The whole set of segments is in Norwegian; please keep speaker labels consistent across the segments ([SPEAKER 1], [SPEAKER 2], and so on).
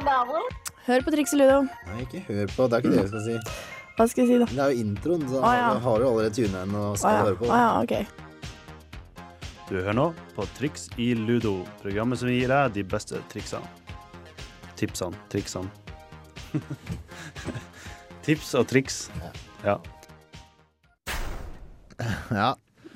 [SPEAKER 1] Hør på trikset, Ludo.
[SPEAKER 2] Nei, ikke hør på. Det er ikke det jeg skal si.
[SPEAKER 1] Hva skal jeg si, da?
[SPEAKER 2] Det er jo introen, så
[SPEAKER 1] Å, ja.
[SPEAKER 2] da har du allerede tunet inn og
[SPEAKER 1] Å
[SPEAKER 2] skal
[SPEAKER 1] ja.
[SPEAKER 2] høre på.
[SPEAKER 1] Å ja, ok.
[SPEAKER 3] Du hører nå på Triks i Ludo, programmet som gir deg de beste triksene. Tipsene, triksene. Tips og triks. Ja.
[SPEAKER 2] Ja,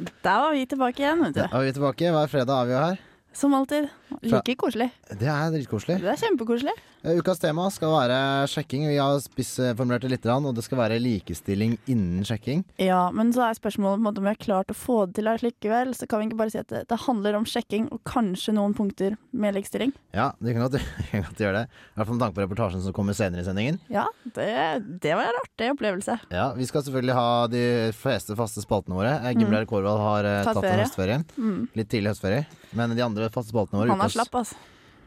[SPEAKER 1] Der var vi tilbake igjen, vet du.
[SPEAKER 2] da er vi tilbake. Hver fredag er vi jo her.
[SPEAKER 1] Som alltid. Like koselig.
[SPEAKER 2] Det er dritkoselig.
[SPEAKER 1] Det er kjempekoselig.
[SPEAKER 2] Eh, Ukas tema skal være sjekking. Vi har spissformulert det litt, grann, og det skal være likestilling innen sjekking.
[SPEAKER 1] Ja, men så er spørsmålet på en måte om vi har klart å få det til likevel. Så kan vi ikke bare si at det, det handler om sjekking og kanskje noen punkter med likestilling.
[SPEAKER 2] Ja, du kan godt, du kan godt gjøre det. I hvert fall med tanke på reportasjen som kommer senere i sendingen.
[SPEAKER 1] Ja, det, det var en artig opplevelse.
[SPEAKER 2] Ja, Vi skal selvfølgelig ha de fleste faste spaltene våre. Eh, Gimleir Kårvald har eh,
[SPEAKER 1] Mm. Tatt
[SPEAKER 2] tatt en
[SPEAKER 1] ferie. Mm.
[SPEAKER 2] høstferie. Litt tidlig høstferie. Men de andre faste spaltene våre
[SPEAKER 1] Han er
[SPEAKER 2] ukas-
[SPEAKER 1] slapp, altså.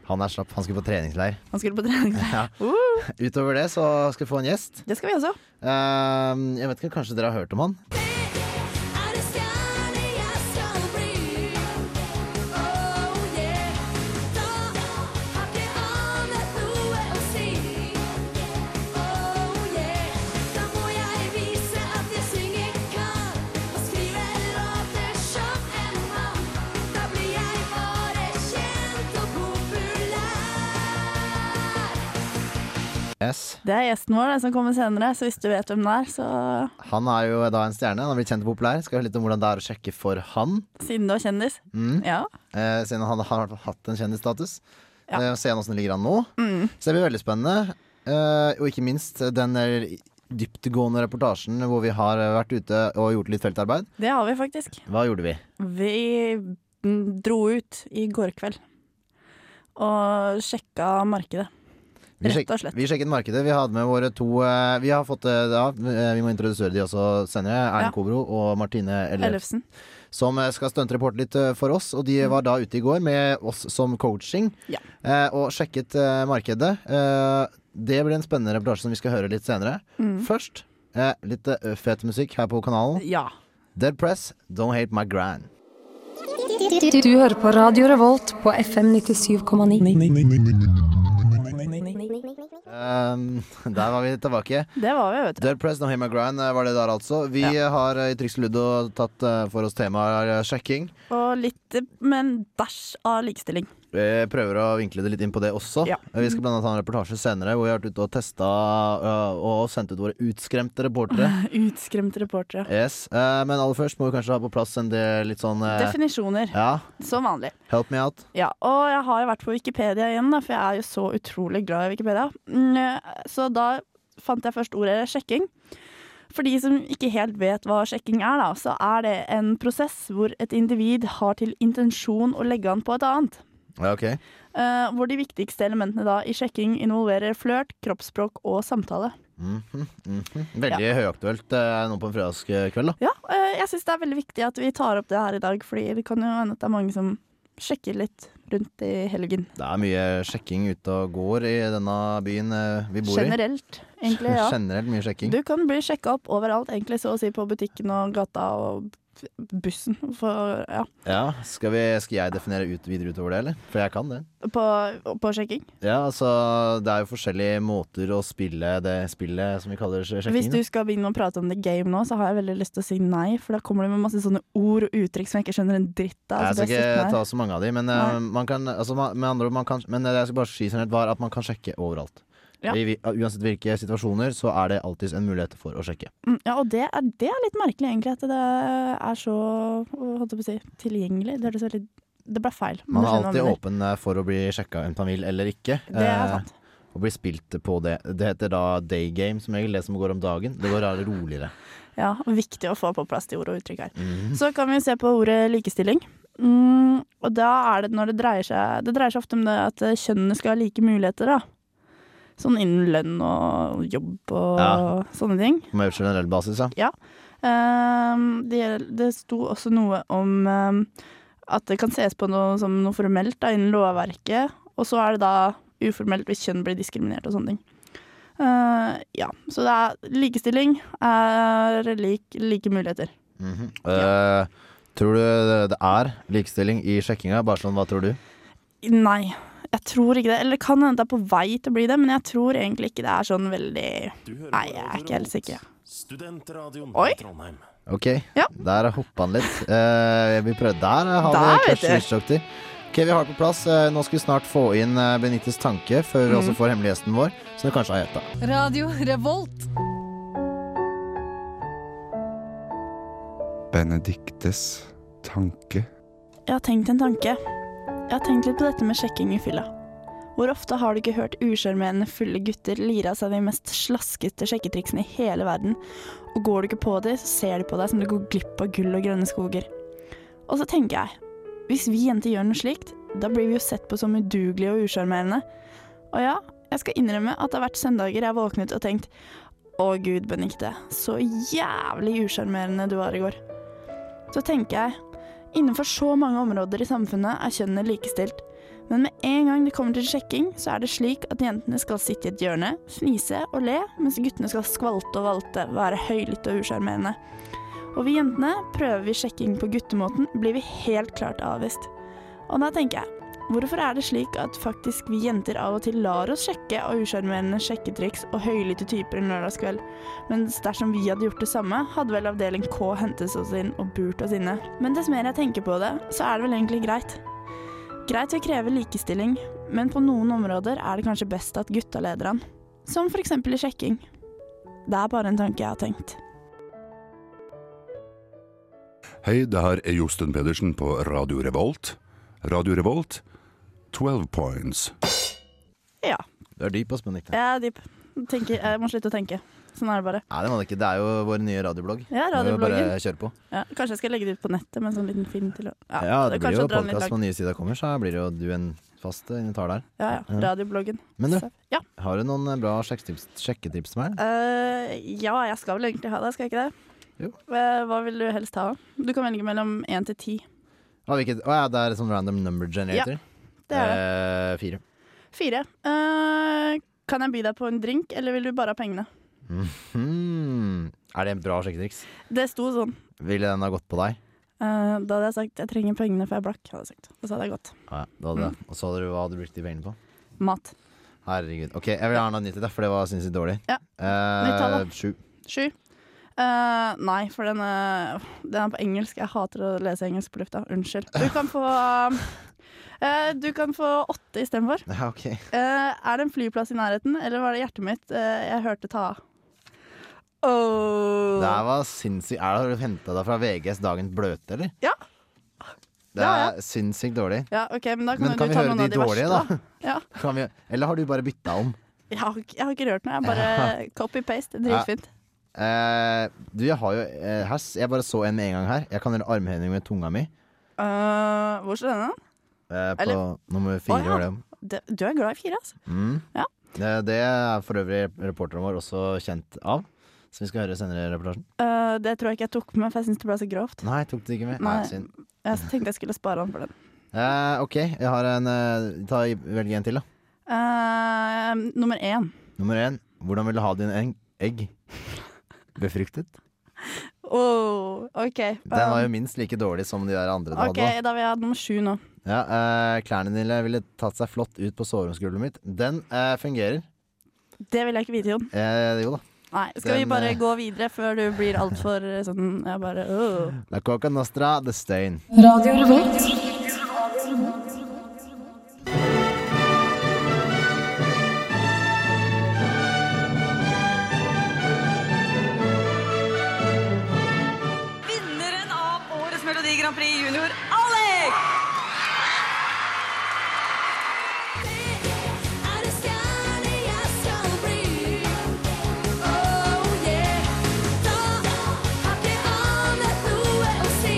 [SPEAKER 2] Han er slapp. Han skulle på treningsleir.
[SPEAKER 1] Han skulle på trening.
[SPEAKER 2] Ja.
[SPEAKER 1] Uh,
[SPEAKER 2] Utover det så skal vi få en gjest.
[SPEAKER 1] det skal vi også.
[SPEAKER 2] Eh, jeg vet ikke, Kanskje dere har hørt om han?
[SPEAKER 4] Er det stjerne jeg skal bli? Oh yeah. Da har ikke annet noe å si. Oh yeah. Da må jeg vise at jeg synger kan, og skrive låter som en mann. Da blir jeg bare kjent og populær.
[SPEAKER 2] Yes.
[SPEAKER 1] Det er gjesten vår det, som kommer senere, så hvis du vet hvem det er, så
[SPEAKER 2] Han er jo da en stjerne. Han har blitt kjent og populær. Skal høre litt om hvordan det er å sjekke for han.
[SPEAKER 1] siden du er kjendis. Ja.
[SPEAKER 2] Eh, siden han har i hvert fall hatt en kjendisstatus.
[SPEAKER 1] Ja. Mm.
[SPEAKER 2] Eh, se an åssen det ligger an nå. Så det blir veldig spennende. Eh, og ikke minst den der dyptgående reportasjen hvor vi har vært ute og gjort litt feltarbeid.
[SPEAKER 1] Det har vi faktisk.
[SPEAKER 2] Hva gjorde vi?
[SPEAKER 1] Vi mm, dro ut i går kveld og sjekka markedet.
[SPEAKER 2] Vi
[SPEAKER 1] Rett og slett.
[SPEAKER 2] Vi sjekket markedet. Vi hadde med våre to eh, Vi har fått eh, da, eh, vi må introdusere de også senere. Erlend
[SPEAKER 1] Ja.
[SPEAKER 2] Kobro og Martine Ellefsen.
[SPEAKER 1] Ellefsen.
[SPEAKER 2] som skal stuntreporte litt eh, for oss. Og de var da ute i går med oss som coaching
[SPEAKER 1] Ja.
[SPEAKER 2] eh, og sjekket eh, markedet. Eh, Det blir en spennende reportasje som vi skal høre litt senere. Først eh, litt eh, fet musikk her på kanalen.
[SPEAKER 1] Ja.
[SPEAKER 2] Dead Press, Don't Hate My Grand.
[SPEAKER 5] Du, du hører på Radio Revolt på FM 97,9.
[SPEAKER 2] Um, der var vi tilbake.
[SPEAKER 1] Det var vi, vet du.
[SPEAKER 2] Dead Press, Don't Hate My Grand eh, var det der, altså. Vi eh, har eh, i Triks og Ludo tatt eh, for oss temaer eh, sjekking.
[SPEAKER 1] Og litt eh, med en bæsj av likestilling.
[SPEAKER 2] Jeg prøver å vinkle det litt inn på det også.
[SPEAKER 1] Ja.
[SPEAKER 2] Vi skal blant annet ha en reportasje senere hvor vi har vært ute og testa øh, og sendt ut våre utskremte reportere.
[SPEAKER 1] Utskremte reportere.
[SPEAKER 2] Yes. Eh, Men aller først må vi kanskje ha på plass en del litt sånn eh,
[SPEAKER 1] Definisjoner,
[SPEAKER 2] Ja,
[SPEAKER 1] som vanlig.
[SPEAKER 2] help me out.
[SPEAKER 1] Ja, og jeg har jo vært på Wikipedia igjen, da, for jeg er jo så utrolig glad i Wikipedia. Mm, Så da fant jeg først ordet sjekking. For de som ikke helt vet hva sjekking er, da, så er det en prosess hvor et individ har til intensjon å legge an på et annet.
[SPEAKER 2] Ja, ok.
[SPEAKER 1] Eh, hvor de viktigste elementene da i sjekking involverer flørt, kroppsspråk og samtale.
[SPEAKER 2] Mhm, mhm. Veldig høyaktuelt eh, nå på en fredagskveld, da.
[SPEAKER 1] Ja, eh, jeg syns det er veldig viktig at vi tar opp det her i dag, fordi det kan jo hende at det er mange som sjekker litt rundt i helgen.
[SPEAKER 2] Det er mye sjekking ute og går i denne byen eh, vi bor i.
[SPEAKER 1] Generelt, egentlig. ja.
[SPEAKER 2] Generelt mye sjekking.
[SPEAKER 1] Du kan bli sjekka opp overalt, egentlig, så å si på butikken og gata og bussen. For, ja,
[SPEAKER 2] Ja, skal, vi, skal jeg definere ut videre utover det, eller? For jeg kan det.
[SPEAKER 1] på, på sjekking.
[SPEAKER 2] Ja, altså Det er jo forskjellige måter å spille det spillet som vi kaller sj-
[SPEAKER 1] Hvis du
[SPEAKER 2] sjekking. da.
[SPEAKER 1] skal begynne å prate om the game nå, så har jeg veldig lyst til å si nei, for da kommer du med masse sånne ord og uttrykk som jeg ikke skjønner en dritt av.
[SPEAKER 2] Jeg
[SPEAKER 1] så blir jeg
[SPEAKER 2] skal ikke
[SPEAKER 1] sittende
[SPEAKER 2] ta
[SPEAKER 1] her.
[SPEAKER 2] så mange av de, men,
[SPEAKER 1] Nei.
[SPEAKER 2] eh, man kan, altså, man, med andre ord, man kan, men det jeg skal bare si generelt, var at man kan sjekke overalt.
[SPEAKER 1] Ja.
[SPEAKER 2] I, vi- uansett hvilke situasjoner, så er det alltids en mulighet for å sjekke.
[SPEAKER 1] Mm, Ja, og det er, det er litt merkelig, egentlig, at det er så hva holdt jeg på å si, tilgjengelig. Det, høres veldig, det ble feil. men
[SPEAKER 2] Man
[SPEAKER 1] du skjønner
[SPEAKER 2] er
[SPEAKER 1] hva
[SPEAKER 2] alltid
[SPEAKER 1] jeg mener.
[SPEAKER 2] åpen eh, for å bli sjekka enten man vil eller ikke.
[SPEAKER 1] Det er
[SPEAKER 2] eh,
[SPEAKER 1] sant.
[SPEAKER 2] og bli spilt på det. Det heter da day game, som regel. Det som går om dagen. Det går da roligere.
[SPEAKER 1] Ja, og viktig å få på plass de ord og uttrykk her. Så kan vi se på ordet likestilling. Mm, og da er det når det dreier seg Det dreier seg ofte om det at eh, kjønnene skal ha like muligheter, da. Sånn innen lønn og jobb og
[SPEAKER 2] Ja.
[SPEAKER 1] sånne ting.
[SPEAKER 2] På mer generell basis, ja.
[SPEAKER 1] Ehm, det, det sto også noe om ehm, at det kan ses på noe som noe formelt da, innen lovverket, og så er det da uformelt hvis kjønn blir diskriminert og sånne ting. Eh, ja, så det er likestilling er lik like muligheter.
[SPEAKER 2] Mhm. Eh, tror du det- det er likestilling i sjekkinga? Bare sånn, hva tror du?
[SPEAKER 1] Nei. Jeg tror ikke det. Eller det kan hende det er på vei til å bli det, men jeg tror egentlig ikke det er sånn veldig
[SPEAKER 6] Du hører
[SPEAKER 1] Nei,
[SPEAKER 6] på
[SPEAKER 1] jeg er
[SPEAKER 6] Radio
[SPEAKER 1] ikke helt
[SPEAKER 6] Revolt,
[SPEAKER 1] sikker.
[SPEAKER 6] Studentradioen
[SPEAKER 1] Oi.
[SPEAKER 6] i Trondheim.
[SPEAKER 2] Ok,
[SPEAKER 1] Ja.
[SPEAKER 2] der hoppa han litt. Eh, vi prøvde. Der har
[SPEAKER 1] Der,
[SPEAKER 2] vi
[SPEAKER 1] vet
[SPEAKER 2] Clutch Utstokter. Ok, vi har det på plass. Eh, nå skal vi snart få inn eh, Benittes tanke
[SPEAKER 1] Mhm.
[SPEAKER 2] før vi også får hemmelig gjesten vår, som du kanskje har gjetta.
[SPEAKER 5] Radio Revolt.
[SPEAKER 7] Benediktes tanke.
[SPEAKER 1] Jeg har tenkt en tanke. Jeg har tenkt litt på dette med sjekking i fylla. Hvor ofte har du ikke hørt usjarmerende fulle gutter lire av seg de mest slaskete sjekketriksene i hele verden, og går du ikke på de, så ser de på deg som du går glipp av gull og grønne skoger. Og så tenker jeg, hvis vi jenter gjør noe slikt, da blir vi jo sett på som udugelige og usjarmerende. Og ja, jeg skal innrømme at det har vært søndager jeg har våknet og tenkt å gud, Benikte, så jævlig usjarmerende du var i går. Så tenker jeg, Innenfor så mange områder i samfunnet er kjønnene likestilt. Men med en gang det kommer til sjekking, så er det slik at jentene skal sitte i et hjørne, fnise og le, mens guttene skal skvalte og valte, være høylytte og usjarmerende. Og vi jentene, prøver vi sjekking på guttemåten, blir vi helt klart avvist. Og da tenker jeg, hvorfor er det slik at faktisk vi jenter av og til lar oss sjekke av usjarmerende sjekketriks og høylytte typer en lørdagskveld? Mens dersom vi hadde gjort det samme, hadde vel avdeling K hentes oss inn og burt oss inne. Men dess mer jeg tenker på det, så er det vel egentlig greit. Greit å kreve likestilling, men på noen områder er det kanskje best at gutta leder an. Som for eksempel i sjekking. Det er bare en tanke jeg har tenkt.
[SPEAKER 8] Hei, det her er Josten Pedersen på Radio Revolt. Radio Revolt, 12 points.
[SPEAKER 1] Ja,
[SPEAKER 2] Du er dyp, ass, Benedikte.
[SPEAKER 1] jeg er dyp. Tenker, jeg må slutte å tenke. Sånn er det bare.
[SPEAKER 2] Nei, det må det ikke. Det er jo vår nye radioblogg.
[SPEAKER 1] Ja,
[SPEAKER 2] Må jo
[SPEAKER 1] radiobloggen.
[SPEAKER 2] Bare kjøre på.
[SPEAKER 1] Ja, kanskje jeg skal legge det ut på nettet med en sånn liten film til. å-
[SPEAKER 2] Ja, det,
[SPEAKER 1] kanskje
[SPEAKER 2] blir jo
[SPEAKER 1] å dra den litt langt.
[SPEAKER 2] podkast når nye sider kommer, så blir det jo du en fast eh, invitar der.
[SPEAKER 1] Ja, ja. Radiobloggen.
[SPEAKER 2] Men du-
[SPEAKER 1] Så- ja.
[SPEAKER 2] Har du noen eh, bra sjekketips, sjekketips til meg?
[SPEAKER 1] Eh, ja, jeg skal vel egentlig ha det, skal jeg ikke det?
[SPEAKER 2] Jo.
[SPEAKER 1] Eh, Hva vil du helst ha? Du kan velge mellom én til ti.
[SPEAKER 2] Å, hvilket, å ja, det er sånn random number generator.
[SPEAKER 1] Det er det.
[SPEAKER 2] Eh, fire.
[SPEAKER 1] Fire. Eh, kan jeg by deg på en drink, eller vil du bare ha pengene?
[SPEAKER 2] Hmm. Er det en bra sjekketriks?
[SPEAKER 1] Det sto sånn.
[SPEAKER 2] Ville den ha gått på deg?
[SPEAKER 1] Eh, da hadde jeg sagt 'jeg trenger pengene, for jeg er blakk'. Hadde jeg sagt. Og så hadde jeg gått.
[SPEAKER 2] Ja, det hadde
[SPEAKER 1] Mm.
[SPEAKER 2] det. Og så hadde du, hva hadde du brukt de pengene på?
[SPEAKER 1] Mat.
[SPEAKER 2] Herregud. Ok, jeg vil ha noe nytt til deg, for det var sinnssykt dårlig.
[SPEAKER 1] Ja.
[SPEAKER 2] Eh,
[SPEAKER 1] Nytt tall, da.
[SPEAKER 2] Sju.
[SPEAKER 1] Sju. Eh, nei, for den, eh, den er på engelsk. Jeg hater å lese engelsk på lufta. Unnskyld. Du kan få eh, Du kan få åtte istedenfor.
[SPEAKER 2] Ja, ok.
[SPEAKER 1] Eh, er det en flyplass i nærheten, eller var det hjertet mitt eh, jeg hørte ta av? Åh.
[SPEAKER 2] Det her var sinnssykt. Er det, har du henta deg fra VGs Dagen bløte, eller?
[SPEAKER 1] Ja.
[SPEAKER 2] Det
[SPEAKER 1] Ja,
[SPEAKER 2] er sinnssykt dårlig.
[SPEAKER 1] Ja, ok, men da kan,
[SPEAKER 2] Men
[SPEAKER 1] jo
[SPEAKER 2] kan
[SPEAKER 1] du
[SPEAKER 2] vi
[SPEAKER 1] ta
[SPEAKER 2] høre
[SPEAKER 1] noen
[SPEAKER 2] de
[SPEAKER 1] av de
[SPEAKER 2] dårlige,
[SPEAKER 1] verste,
[SPEAKER 2] da?
[SPEAKER 1] Ja.
[SPEAKER 2] Kan vi, eller har du bare bytta om?
[SPEAKER 1] Jeg har, ikke- jeg har ikke rørt noe. Jeg bare copy-paste. Dritfint.
[SPEAKER 2] Eh, du, jeg har jo eh, her, s- Jeg bare så en med en gang her. Jeg kan gjøre armhevinger med tunga mi.
[SPEAKER 1] Eh, hvor står denne?
[SPEAKER 2] Eh, på
[SPEAKER 1] Eller-
[SPEAKER 2] nummer
[SPEAKER 1] Å,
[SPEAKER 2] fire,
[SPEAKER 1] ja.
[SPEAKER 2] var det.
[SPEAKER 1] Det- Du er glad i fire, altså.
[SPEAKER 2] Mm.
[SPEAKER 1] Ja.
[SPEAKER 2] Det, det er for øvrig reporteren vår også kjent av. Som vi skal høre senere i reportasjen.
[SPEAKER 1] Eh, det tror jeg ikke jeg tok med, for jeg syns det ble så grovt.
[SPEAKER 2] Nei, tok du ikke med?
[SPEAKER 1] Nei.
[SPEAKER 2] synd.
[SPEAKER 1] Jeg tenkte jeg skulle spare han for den.
[SPEAKER 2] Eh, ok, jeg har en eh, ta, Velg en til, da.
[SPEAKER 1] Eh, nummer én.
[SPEAKER 2] Nummer én. Hvordan vil du ha dine eng- egg? Befruktet?
[SPEAKER 1] Åh, OK. Um,
[SPEAKER 2] Den var jo minst like dårlig som de der andre du
[SPEAKER 1] OK,
[SPEAKER 2] hadde. da.
[SPEAKER 1] da vil jeg ha nummer sju nå.
[SPEAKER 2] Ja, eh, klærne dine ville tatt seg flott ut på soveromsgulvet mitt. Den eh, fungerer.
[SPEAKER 1] Det vil jeg ikke vite, Jon.
[SPEAKER 2] Eh, jo da.
[SPEAKER 1] Nei, skal vi
[SPEAKER 2] Den,
[SPEAKER 1] bare
[SPEAKER 2] eh,
[SPEAKER 1] gå videre før du blir altfor eh, sånn Jeg bare åh.
[SPEAKER 2] La coca nostra the stain.
[SPEAKER 5] Radio Revolt.
[SPEAKER 9] Vinneren av årets Melodi Grand Prix junior, Alex!
[SPEAKER 4] Er det stjerne jeg skal bli? Oh yeah. Da har ikke annet noe å si.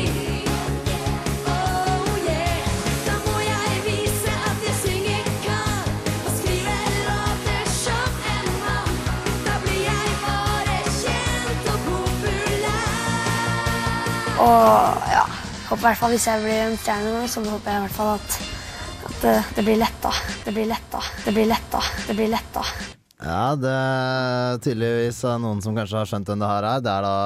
[SPEAKER 4] Oh yeah. Da må jeg vise at jeg synger kan, og skrive låter som en mann. Da blir jeg bare kjent og populær.
[SPEAKER 10] Og ja, håper i hvert fall hvis jeg blir en stjerne nå, så håper jeg i eh, hvert fall at, at det, det blir lett, da. Det blir lett, da. Det blir lett, da. Det blir lett, da.
[SPEAKER 2] Ja, det er tydeligvis av noen som kanskje har skjønt hvem det her er. Det er da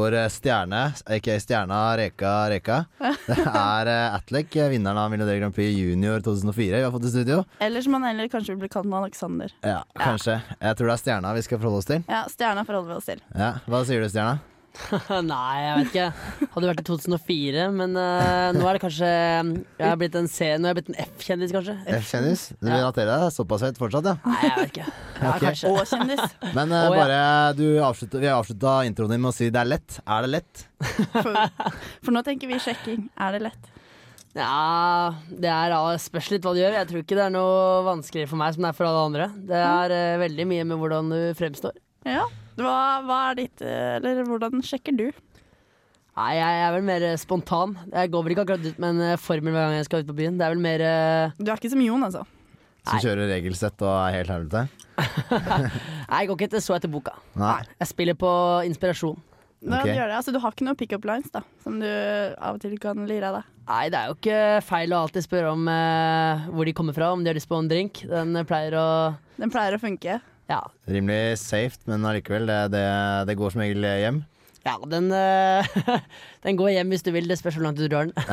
[SPEAKER 2] vår eh, stjerne, aka Stjerna Reka Reka. Det er eh, Atleck, vinneren av Millionaire Grand Prix Junior 2004 vi har fått i studio.
[SPEAKER 1] Eller som han heller kanskje vil bli kalt nå, Alexander.
[SPEAKER 2] Ja, kanskje. Jeg tror det er Stjerna vi skal forholde oss til.
[SPEAKER 1] Ja, stjerna forholder vi oss til.
[SPEAKER 2] Ja, Hva sier du, Stjerna?
[SPEAKER 6] Nei, jeg vet ikke. Hadde vært i 2004, men eh, nå er det kanskje Jeg har blitt en C, nå er jeg blitt en F-kjendis, kanskje.
[SPEAKER 2] F-kjendis? Du vil ratere deg såpass høyt fortsatt, ja?
[SPEAKER 6] Nei, jeg vet ikke. Ja,
[SPEAKER 2] Ok.
[SPEAKER 6] kanskje.
[SPEAKER 1] Og kjendis.
[SPEAKER 2] Men eh,
[SPEAKER 6] Å, ja.
[SPEAKER 2] bare, du avslutter, vi avslutta introen din med å si det er lett. Er det lett?
[SPEAKER 1] For, for nå tenker vi sjekking. Er det lett?
[SPEAKER 6] Ja, det er ja, spørs litt hva du gjør. Jeg tror ikke det er noe vanskeligere for meg som det er for alle andre. Det er eh, veldig mye med hvordan du fremstår.
[SPEAKER 1] Ja. Hva, hva er ditt eh, Eller hvordan sjekker du?
[SPEAKER 6] Nei, jeg er vel mer eh, spontan. Jeg går vel ikke akkurat ut med en eh, formel hver gang jeg skal ut på byen. Det er vel mer eh,
[SPEAKER 1] Du er ikke som Jon, altså.
[SPEAKER 2] Som
[SPEAKER 6] Nei.
[SPEAKER 2] kjører regelsett og er helt helvete?
[SPEAKER 6] Nei, jeg går ikke etter så etter boka.
[SPEAKER 2] Nei.
[SPEAKER 6] Jeg spiller på inspirasjon.
[SPEAKER 1] Ja,
[SPEAKER 2] Ok.
[SPEAKER 1] du, gjør det. Altså, du har ikke noen pick-up lines da som du av og til kan lire av deg.
[SPEAKER 6] Nei, det er jo ikke feil å alltid spørre om eh, hvor de kommer fra, om de har lyst på en drink. Den eh, pleier å
[SPEAKER 1] Den pleier å funke.
[SPEAKER 6] Ja,
[SPEAKER 2] Rimelig safe, men allikevel, det, det, det går som regel hjem.
[SPEAKER 6] ja den, eh, den går hjem hvis du vil. Det spørs hvor langt du drar den.
[SPEAKER 2] Å,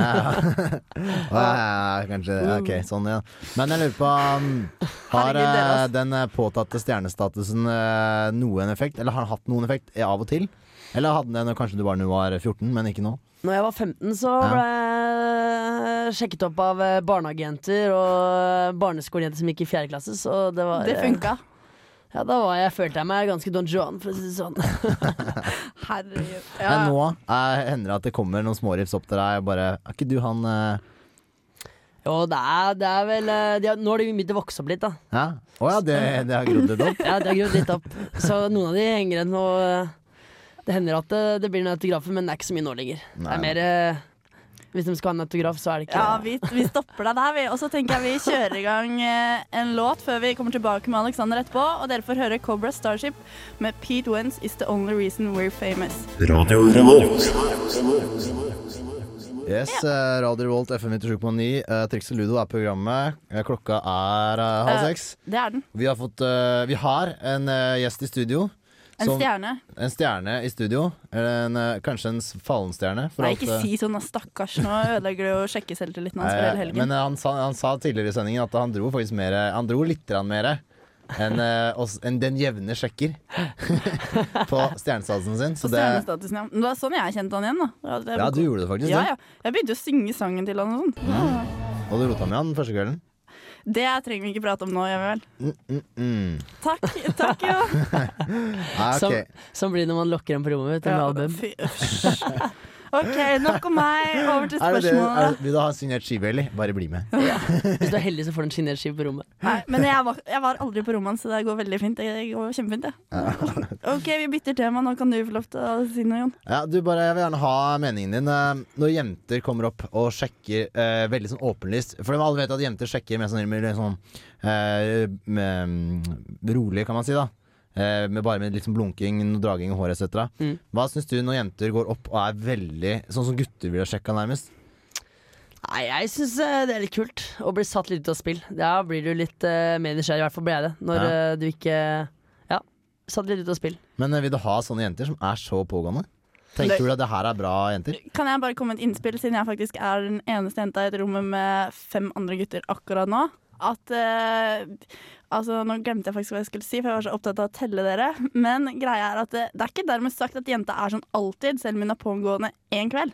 [SPEAKER 2] ja, ja, kanskje det. Ok, sånn, ja. Men jeg lurer på um, Har
[SPEAKER 1] Herregud, dere,
[SPEAKER 2] eh,
[SPEAKER 6] altså.
[SPEAKER 1] ass.
[SPEAKER 2] den eh, påtatte stjernestatusen eh, noen effekt? Eller har den hatt noen effekt eh, av og til? Eller hadde den det når kanskje du var, nå var 14, men ikke nå?
[SPEAKER 6] Når jeg var 15, så ble jeg sjekket opp av eh, barnehagejenter og barneskolejenter som gikk i fjerde klasse, så det var
[SPEAKER 1] Det
[SPEAKER 6] eh,
[SPEAKER 1] funka.
[SPEAKER 6] Ja, da var jeg, følte jeg meg ganske Don Juan, for å si det sånn.
[SPEAKER 1] Herregud.
[SPEAKER 2] Men
[SPEAKER 1] Ja.
[SPEAKER 2] nå eh, hender det at det kommer noen smårips opp til deg og bare Er ikke du han eh,
[SPEAKER 6] Jo, det er, det er vel eh, de har, Nå har de begynt å vokse opp litt, da.
[SPEAKER 2] Hæ? Å ja, det, det har grodd litt opp?
[SPEAKER 6] Ja, de har grodd litt opp. Så noen av de henger igjen, og eh, det hender at det, det blir noen autografer, men det er ikke så mye nå lenger. Det
[SPEAKER 2] Nei.
[SPEAKER 6] er mer eh, Hvis de skal ha en autograf, så er det ikke
[SPEAKER 1] Ja, vi, vi stopper deg der, vi. Og så tenker jeg vi kjører i gang eh, en låt før vi kommer tilbake med Alexander etterpå. Og dere får høre Cobra Starship med Pete Wentz Is The Only Reason We're Famous.
[SPEAKER 2] Yes, eh, Radio Revolt FM 97,9. Eh, Trix og Ludo er programmet. Eh, Klokka er eh, halv
[SPEAKER 1] Eh,
[SPEAKER 2] seks.
[SPEAKER 1] Det er den.
[SPEAKER 2] Vi har, fått, eh, vi har en eh, gjest i studio.
[SPEAKER 1] En
[SPEAKER 2] som-
[SPEAKER 1] stjerne.
[SPEAKER 2] En stjerne i studio. Eller en, eh, kanskje en s- fallen stjerne. for
[SPEAKER 1] Nei,
[SPEAKER 2] alt,
[SPEAKER 1] ikke
[SPEAKER 2] eh,
[SPEAKER 1] si sånn, da, stakkars. Nå ødelegger du jo sjekkeselvtilliten hans for
[SPEAKER 2] eh,
[SPEAKER 1] hele helgen.
[SPEAKER 2] Men eh, han sa, han sa tidligere i sendingen at han dro faktisk mer Han dro litt grann mer enn eh, oss- enn den jevne sjekker på stjernesatsen sin.
[SPEAKER 1] Så
[SPEAKER 2] Så altså, det
[SPEAKER 1] stjernestatusen, ja. Men det var sånn jeg kjente han igjen, da. Ja, det er
[SPEAKER 2] Ja,
[SPEAKER 1] vel
[SPEAKER 2] du
[SPEAKER 1] cool.
[SPEAKER 2] gjorde det faktisk.
[SPEAKER 1] ja,
[SPEAKER 2] det.
[SPEAKER 1] ja. Jeg begynte jo å synge sangen til han og sånn. Ja.
[SPEAKER 2] Og du rota med han første kvelden.
[SPEAKER 1] Det trenger vi ikke prate om nå, gjør vi vel.
[SPEAKER 2] Mm.
[SPEAKER 1] Takk, takk jo.
[SPEAKER 2] Ah, ok.
[SPEAKER 6] Som, som blir når man lokker dem på rommet mitt med album.
[SPEAKER 1] Fy, uff. OK, nok om meg. Over til
[SPEAKER 2] Er det det, er,
[SPEAKER 1] spørsmålet.
[SPEAKER 2] vil du ha en signert skive, eller? Bare bli med.
[SPEAKER 6] Hvis du er heldig, så får du en skinert skive på rommet.
[SPEAKER 1] Nei, men jeg var, jeg var aldri på rommet, så det går veldig fint. Det går kjempefint, det. OK, vi bytter tema. Nå kan du få lov til å si noe, Jon.
[SPEAKER 2] Ja, du bare, Jeg vil gjerne ha meningen din. eh, Når jenter kommer opp og sjekker eh, veldig sånn åpenlyst For de alle vet at jenter sjekker med sånn, med litt sånn eh, med, mm, rolig, kan man si. da Eh, med Bare med litt sånn blunking, noe draging i håret etc.
[SPEAKER 6] Mm.
[SPEAKER 2] Hva syns du når jenter går opp og er veldig sånn som gutter ville sjekka nærmest?
[SPEAKER 6] Nei, jeg syns det er litt kult å bli satt litt ut av spill. Da blir du litt eh, mer nysgjerrig, i hvert fall ble jeg det, når
[SPEAKER 2] Ja.
[SPEAKER 6] eh, du ikke Ja, satt litt ut av spill.
[SPEAKER 2] Men eh, vil du ha sånne jenter som er så pågående? Tenker du at det her er bra jenter?
[SPEAKER 1] Kan jeg bare komme med et innspill, siden jeg faktisk er den eneste jenta i et rom med fem andre gutter akkurat nå? At eh, Altså, nå glemte jeg faktisk hva jeg skulle si, for jeg var så opptatt av å telle dere. Men greia er at eh, det, det er ikke dermed sagt at jenta er sånn alltid, selv om hun er pågående én kveld.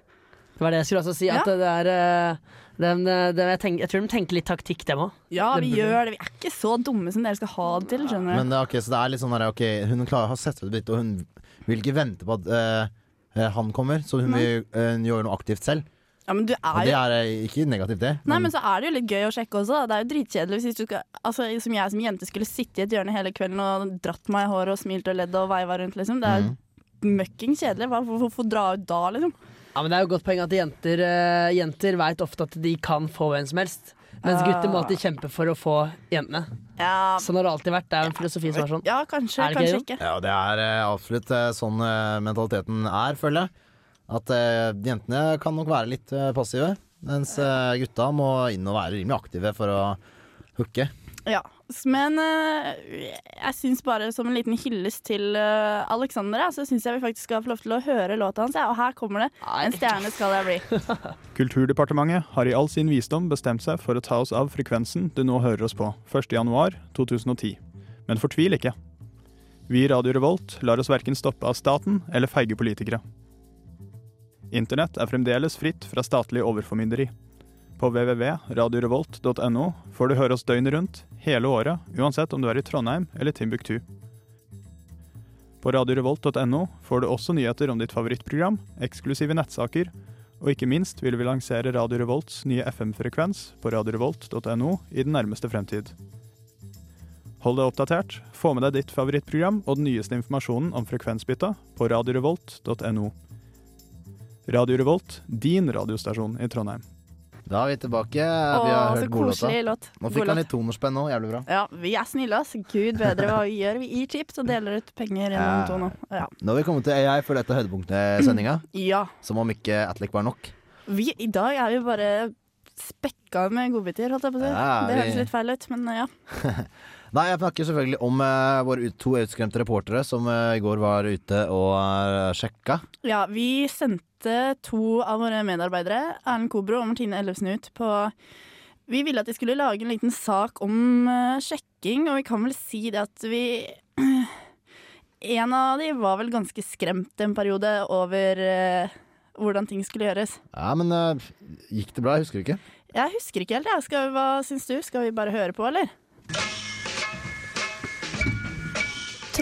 [SPEAKER 6] Det var det jeg skulle også si. At
[SPEAKER 1] Ja.
[SPEAKER 6] det er eh, dem, eh, dem, jeg, tenker, jeg tror de tenker litt taktikk, dem òg.
[SPEAKER 1] Ja, vi
[SPEAKER 6] Det burde-
[SPEAKER 1] gjør det. Vi er ikke så dumme som dere skal ha det til, skjønner du.
[SPEAKER 2] Men det, er ok, Så det er litt sånn der, ok, hun klarer, har sett ut litt, og hun vil ikke vente på at eh, eh, han kommer, så hun vil eh, gjøre noe aktivt selv.
[SPEAKER 1] Ja, men du er jo
[SPEAKER 2] Og det er eh, ikke negativt, det.
[SPEAKER 1] Nei, men så er det jo litt gøy å sjekke også. Da. Det er jo dritkjedelig hvis du skal Altså, som jeg som jente skulle sitte i et hjørne hele kvelden og dratt meg i håret og smilt og ledd og veiva rundt, liksom. Det er jo møkking kjedelig. Hva- Hvorfor hvorfor dra ut da, liksom?
[SPEAKER 6] Ja, men det er jo et godt poeng at jenter, uh, jenter veit ofte at de kan få hvem som helst. Mens
[SPEAKER 1] Ah.
[SPEAKER 6] gutter må alltid kjempe for å få jentene.
[SPEAKER 1] Ja,
[SPEAKER 6] Sånn har det alltid vært. Det er jo en filosofi som er sånn.
[SPEAKER 1] ja kanskje,
[SPEAKER 6] Er det
[SPEAKER 1] kanskje
[SPEAKER 6] gøy,
[SPEAKER 1] ikke.
[SPEAKER 2] Ja, det er eh, absolutt eh, sånn eh, mentaliteten er, føler jeg. At eh, jentene kan nok være litt eh, passive, mens eh, gutta må inn og være rimelig aktive for å hooke.
[SPEAKER 1] Ja. Men eh, jeg syns bare som en liten hyllest til eh, Alexander, ja, så syns jeg vi faktisk skal få lov til å høre låta hans. Ja, og her kommer det. En stjerne skal jeg bli.
[SPEAKER 11] Kulturdepartementet har i all sin visdom bestemt seg for å ta oss av frekvensen du nå hører oss på, 1.1.2010. Men fortvil ikke. Vi i Radio Revolt lar oss verken stoppe av staten eller feige politikere. Internett er fremdeles fritt fra statlig overformynderi. På www.radiorevolt.no får du høre oss døgnet rundt, hele året, uansett om du er i Trondheim eller Timbuktu. På radiorevolt.no får du også nyheter om ditt favorittprogram, eksklusive nettsaker, og ikke minst vil vi lansere Radio Revolts nye FM-frekvens på radiorevolt.no i den nærmeste fremtid. Hold deg oppdatert, få med deg ditt favorittprogram og den nyeste informasjonen om frekvensbytta på radiorevolt.no. Radio Revolt, din radiostasjon i Trondheim.
[SPEAKER 2] Da er vi tilbake. eh,
[SPEAKER 1] Å,
[SPEAKER 2] vi har
[SPEAKER 1] så
[SPEAKER 2] hørt godlåta.
[SPEAKER 1] koselig låt.
[SPEAKER 2] Nå
[SPEAKER 1] God
[SPEAKER 2] fikk han
[SPEAKER 1] låt.
[SPEAKER 2] litt tonerspenn nå. Jævlig bra.
[SPEAKER 1] Ja, vi er snille, ass. Gud bedre hva vi gjør. Vi gir chips og deler ut penger
[SPEAKER 2] Ja.
[SPEAKER 1] gjennom to nå. Ja.
[SPEAKER 2] Nå har vi kommet til AI for dette høydepunktet i sendinga.
[SPEAKER 1] ja.
[SPEAKER 2] Som om ikke Atlik var nok.
[SPEAKER 1] Vi, I dag er vi bare spekka med godbiter, holdt jeg på å si.
[SPEAKER 2] Ja,
[SPEAKER 1] det
[SPEAKER 2] vi-
[SPEAKER 1] høres litt feil ut, men ja.
[SPEAKER 2] Nei, jeg snakker selvfølgelig om eh, våre ut, to utskremte reportere som eh, i går var ute og eh, sjekka.
[SPEAKER 1] Ja, vi sendte to av våre medarbeidere, Erlend Kobro og Martine Ellefsen, ut på Vi ville at de skulle lage en liten sak om eh, sjekking, og vi kan vel si det at vi En av de var vel ganske skremt en periode over eh, hvordan ting skulle gjøres.
[SPEAKER 2] Ja, men eh, gikk det bra? Jeg husker ikke.
[SPEAKER 1] Jeg husker ikke helt, jeg. Skal, hva syns du? Skal vi bare høre på, eller?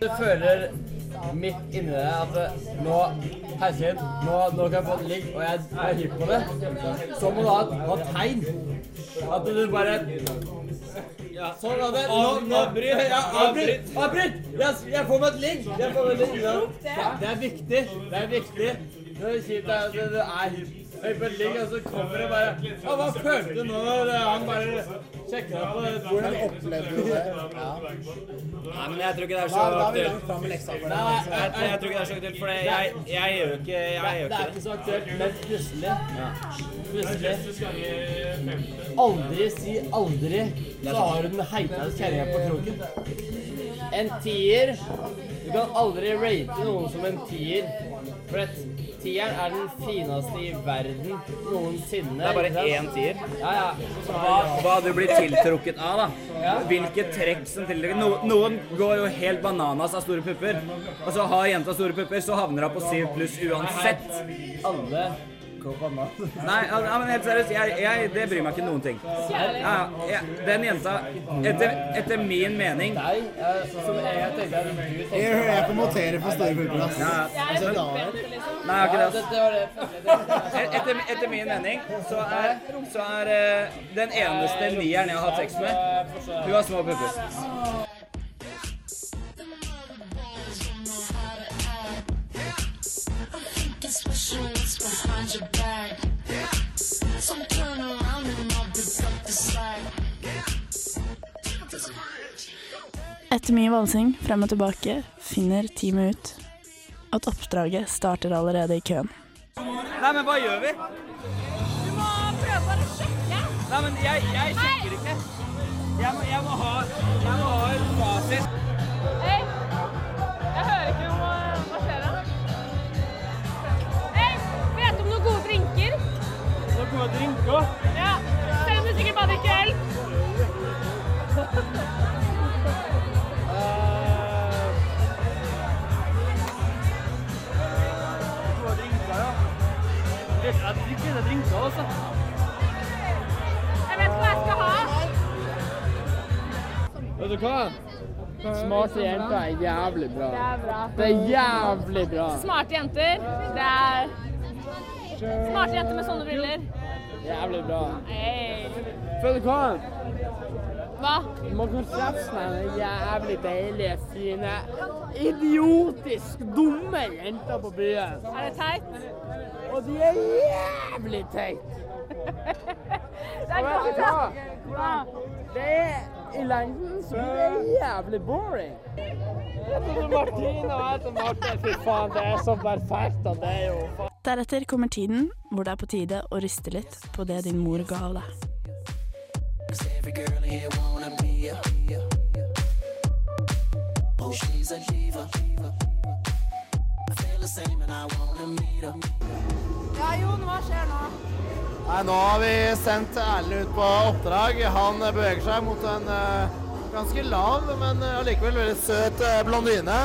[SPEAKER 6] Du føler midt inni deg at eh, nå Herregud, nå, nå kan jeg få et ligg, og jeg jeg er hypp på det. Så må du ha et, ha et tegn. At du bare Sånn er det. Nå, nå bryr jeg meg. Avbryt! Avbryt! Jeg, jeg får meg et ligg. Jeg får meg et ligg. Ja, Det, det er viktig. Det er viktig. Det er kjipt det er- det, det er hypp. Høy på et ligg, og så kommer det bare Å, hva følte du nå? når Han bare sjekka deg på Hvordan opplevde du det? Nei, men jeg tror ikke det er så aktuelt. Nei, jeg, jeg, jeg tror ikke det er så aktuelt, for det- jeg, jeg gjør jo ikke jeg gjør ikke det. er ikke så aktuelt, men plutselig Plutselig Aldri si aldri, så har du den heiteste kjerringa på kroken. En tier Du kan aldri rate noen som en tier. For et tieren er den fineste i verden noensinne.
[SPEAKER 3] Det er bare
[SPEAKER 6] ikke sant?
[SPEAKER 3] én tier.
[SPEAKER 6] Ja, ja.
[SPEAKER 3] Hva, hva du blir tiltrukket av, da. Hvilke trekk som tiltrekker no, Noen går jo helt bananas av store pupper. Og så har jenta store pupper, så havner hun på 7 pluss uansett.
[SPEAKER 6] Alle går banan.
[SPEAKER 3] Nei, al- ja, men helt seriøst, jeg, jeg, det bryr meg ikke noen ting. Ja, ja, den jenta, etter, etter min mening
[SPEAKER 6] Som jeg tenkte at du tenkte
[SPEAKER 12] Jeg hører jeg på motere på store pupper, ass.
[SPEAKER 3] Ja, ja.
[SPEAKER 12] Altså,
[SPEAKER 3] Men-
[SPEAKER 12] da-
[SPEAKER 3] Nei, jeg har ikke det.
[SPEAKER 6] Dette var det
[SPEAKER 3] Et- Etter, etter min mening så er, så er eh, den eneste nieren jeg har hatt sex med, hun har små pupper.
[SPEAKER 1] Etter mye valsing frem og tilbake finner teamet ut at oppdraget starter allerede i køen.
[SPEAKER 3] Nei, men hva gjør vi? Du må prøve bare å sjekke. Nei, men jeg, jeg sjekker ikke. Jeg må, jeg må ha Jeg må ha en fasit.
[SPEAKER 4] Hei! Jeg hører ikke noe Hva skjer da? Hei! Vet du om noen gode drinker?
[SPEAKER 6] Noen gode drinker?
[SPEAKER 4] Ja. Selv om du sikkert bare drikker øl.
[SPEAKER 6] Gode drinker, ja. Jeg drikker det drinker, altså.
[SPEAKER 4] Jeg vet hva jeg skal ha.
[SPEAKER 6] Vet du hva? Smarte jenter er jævlig bra.
[SPEAKER 4] Det er bra.
[SPEAKER 6] Det er jævlig bra.
[SPEAKER 4] Smarte jenter. Det er Smarte jenter med sånne briller.
[SPEAKER 6] Jævlig bra.
[SPEAKER 4] Hei.
[SPEAKER 6] Vet du hva?
[SPEAKER 13] Hva?
[SPEAKER 6] Magnus Refsen er en jævlig deilig, fine, idiotisk dumme jenter på byen.
[SPEAKER 13] Er det teit?
[SPEAKER 6] Og de er jævlig teite.
[SPEAKER 13] Det er
[SPEAKER 6] Hva-
[SPEAKER 13] ganske
[SPEAKER 6] hva-
[SPEAKER 13] teit.
[SPEAKER 6] Det er i lengden så blir det jævlig boring. Jeg heter Martine og jeg heter Martin. Fy faen, det er så perfekt. og Det er jo faen
[SPEAKER 1] Deretter kommer tiden hvor det er på tide å riste litt på det din mor ga av deg.
[SPEAKER 13] Ja, Jon, hva skjer nå?
[SPEAKER 14] Nei, nå har vi sendt Erlend ut på oppdrag. Han eh, beveger seg mot en eh, ganske lav, men eh, allikevel veldig søt eh, blondine.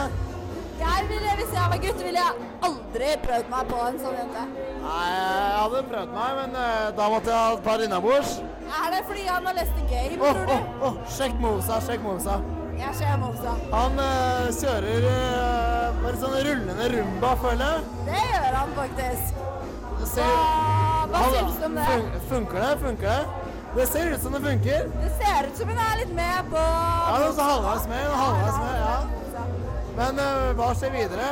[SPEAKER 4] Jeg ville, Hvis jeg var gutt, ville jeg aldri prøvd meg på en sånn jente.
[SPEAKER 14] Nei, jeg hadde prøvd meg, men eh, da måtte jeg ha et par innabords.
[SPEAKER 4] Er det fordi han har lest The Game,
[SPEAKER 14] Åh,
[SPEAKER 4] tror du?
[SPEAKER 14] åh, åh, sjekk movesa, sjekk movesa.
[SPEAKER 4] Jeg ser Mofsa.
[SPEAKER 14] Han eh, kjører eh, bare sånn rullende rumba, føler jeg.
[SPEAKER 4] Det gjør han faktisk.
[SPEAKER 14] Ser-
[SPEAKER 4] Hva- hva
[SPEAKER 14] Han-
[SPEAKER 4] syns du om det?
[SPEAKER 14] fun- Funker det? Funker det? Det ser ut som det funker.
[SPEAKER 4] Det ser ut som hun er litt med på
[SPEAKER 14] Ja, det er så halvveis med. Halvveis med ja. Men eh, hva skjer videre?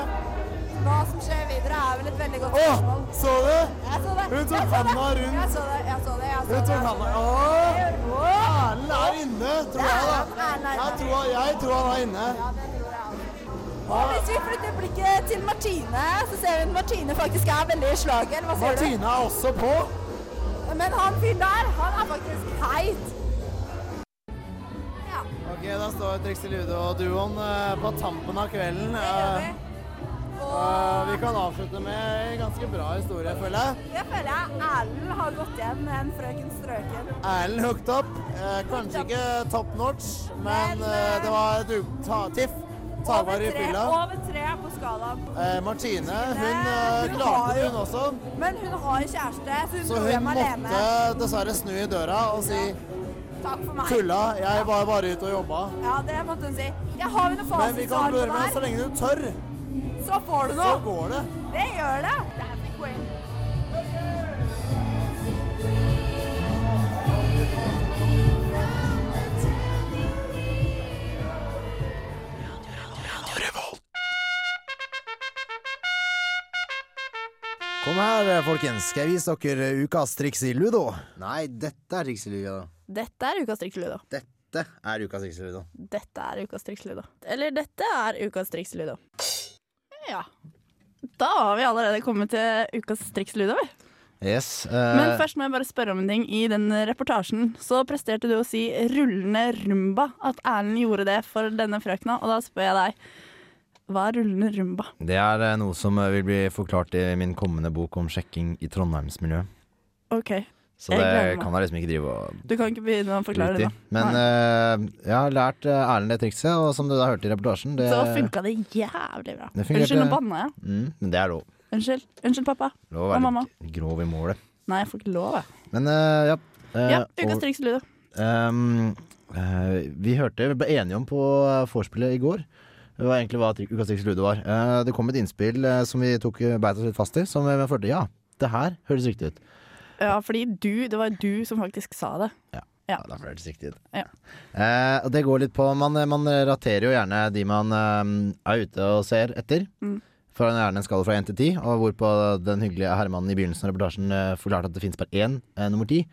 [SPEAKER 4] Hva som skjer videre, er vel et veldig godt
[SPEAKER 14] Åh,
[SPEAKER 4] spørsmål.
[SPEAKER 14] så du?
[SPEAKER 4] Jeg så det.
[SPEAKER 14] Hun tok
[SPEAKER 4] Jeg så det.
[SPEAKER 14] handa rundt.
[SPEAKER 4] Jeg så det. Jeg så det. Jeg så
[SPEAKER 14] Hun
[SPEAKER 4] det.
[SPEAKER 14] tok handa Åh! Erlend er inne, tror jeg da. Jeg tror, han- jeg tror han er inne.
[SPEAKER 4] Og hvis vi flytter blikket til Martine, så ser vi at Martine faktisk er veldig i slaget. Hva sier
[SPEAKER 14] Martine er også på.
[SPEAKER 4] du? Men han fyren der, han er faktisk teit.
[SPEAKER 14] Ok, da står Trixie Lude og duoen eh, på tampen av kvelden. Eh, og vi kan avslutte med en ganske bra historie, føler jeg.
[SPEAKER 4] Jeg føler jeg Erlend har gått igjen med en frøken strøken.
[SPEAKER 14] Erlend hooked up. Eh, kanskje ikke top notch, men eh, det var et u- ta tiff. Tavar i
[SPEAKER 4] Over tre-
[SPEAKER 14] fylla.
[SPEAKER 4] Over tre på skalaen.
[SPEAKER 14] Eh, Martine, hun eh,
[SPEAKER 4] Hun har
[SPEAKER 14] klarte det,
[SPEAKER 4] jo-
[SPEAKER 14] hun også.
[SPEAKER 4] Men hun har jo kjæreste, så hun
[SPEAKER 14] Så
[SPEAKER 4] dro
[SPEAKER 14] hun
[SPEAKER 4] hjem alene.
[SPEAKER 14] måtte dessverre snu i døra og si
[SPEAKER 4] Takk for meg.
[SPEAKER 14] Tulla, jeg var bare ute og jobba.
[SPEAKER 4] Ja, det måtte hun si. Jeg har jo noe
[SPEAKER 14] Men vi kan
[SPEAKER 4] fasitsvar
[SPEAKER 14] klare
[SPEAKER 4] på det
[SPEAKER 14] med så
[SPEAKER 4] her.
[SPEAKER 14] lenge du tør.
[SPEAKER 4] Så får du noe.
[SPEAKER 14] Så går det.
[SPEAKER 4] Det gjør det.
[SPEAKER 2] Kom her, folkens. Skal jeg vise dere ukas triks i ludo? Nei, dette er triks i ludo.
[SPEAKER 1] Dette er ukas triksludo.
[SPEAKER 2] Dette er ukas triks i ludo.
[SPEAKER 1] Dette er ukas triksludo. Eller dette er ukas triksludo. Ja. Da har vi allerede kommet til ukas triksludo. vi.
[SPEAKER 2] Yes. eh,
[SPEAKER 1] Men først må jeg bare spørre om en ting. I den reportasjen så presterte du å si 'rullende rumba'. At Erlend gjorde det for denne frøkna. Og da spør jeg deg, hva er rullende rumba?
[SPEAKER 2] Det er eh, noe som eh, vil bli forklart i min kommende bok om sjekking i Trondheimsmiljøet.
[SPEAKER 1] OK.
[SPEAKER 2] Så
[SPEAKER 1] Jeg gleder
[SPEAKER 2] det
[SPEAKER 1] meg.
[SPEAKER 2] kan jeg liksom ikke drive og
[SPEAKER 1] Du kan ikke begynne å forklare det
[SPEAKER 2] lute i.
[SPEAKER 1] nå.
[SPEAKER 2] Men eh, jeg har lært eh, Erlend det trikset, og som du da hørte i reportasjen det,
[SPEAKER 1] Så funka det jævlig bra.
[SPEAKER 2] Det fungerte-
[SPEAKER 1] Unnskyld, nå banna jeg.
[SPEAKER 2] Mm, men det er lov.
[SPEAKER 1] Unnskyld, Unnskyld, pappa.
[SPEAKER 2] Lov å
[SPEAKER 1] Og
[SPEAKER 2] være
[SPEAKER 1] mamma.
[SPEAKER 2] litt grov i målet.
[SPEAKER 1] Nei, jeg får ikke lov, jeg.
[SPEAKER 2] Men eh, ja. eh,
[SPEAKER 1] Ja, ukas
[SPEAKER 2] og-
[SPEAKER 1] triksludo.
[SPEAKER 2] Ehm, eh, vi hørte, vi ble enige om på eh, vorspielet i går Det var egentlig hva tri- Ukas Triks Ludo var. Eh, det kom et innspill eh, som vi tok eh, beit oss litt fast i, som vi følte ja, det her høres riktig ut.
[SPEAKER 1] Ja, fordi du, det var jo du som faktisk sa det.
[SPEAKER 2] Ja, det høres riktig ut. Eh, og det går litt på Man, man raterer jo gjerne de man eh, er ute og ser etter.
[SPEAKER 1] Mm.
[SPEAKER 2] Fra en gjerne en skala fra 1 til 10, og hvorpå den hyggelige herremannen i begynnelsen av reportasjen eh, forklarte at det fins bare én, eh, nummer 10.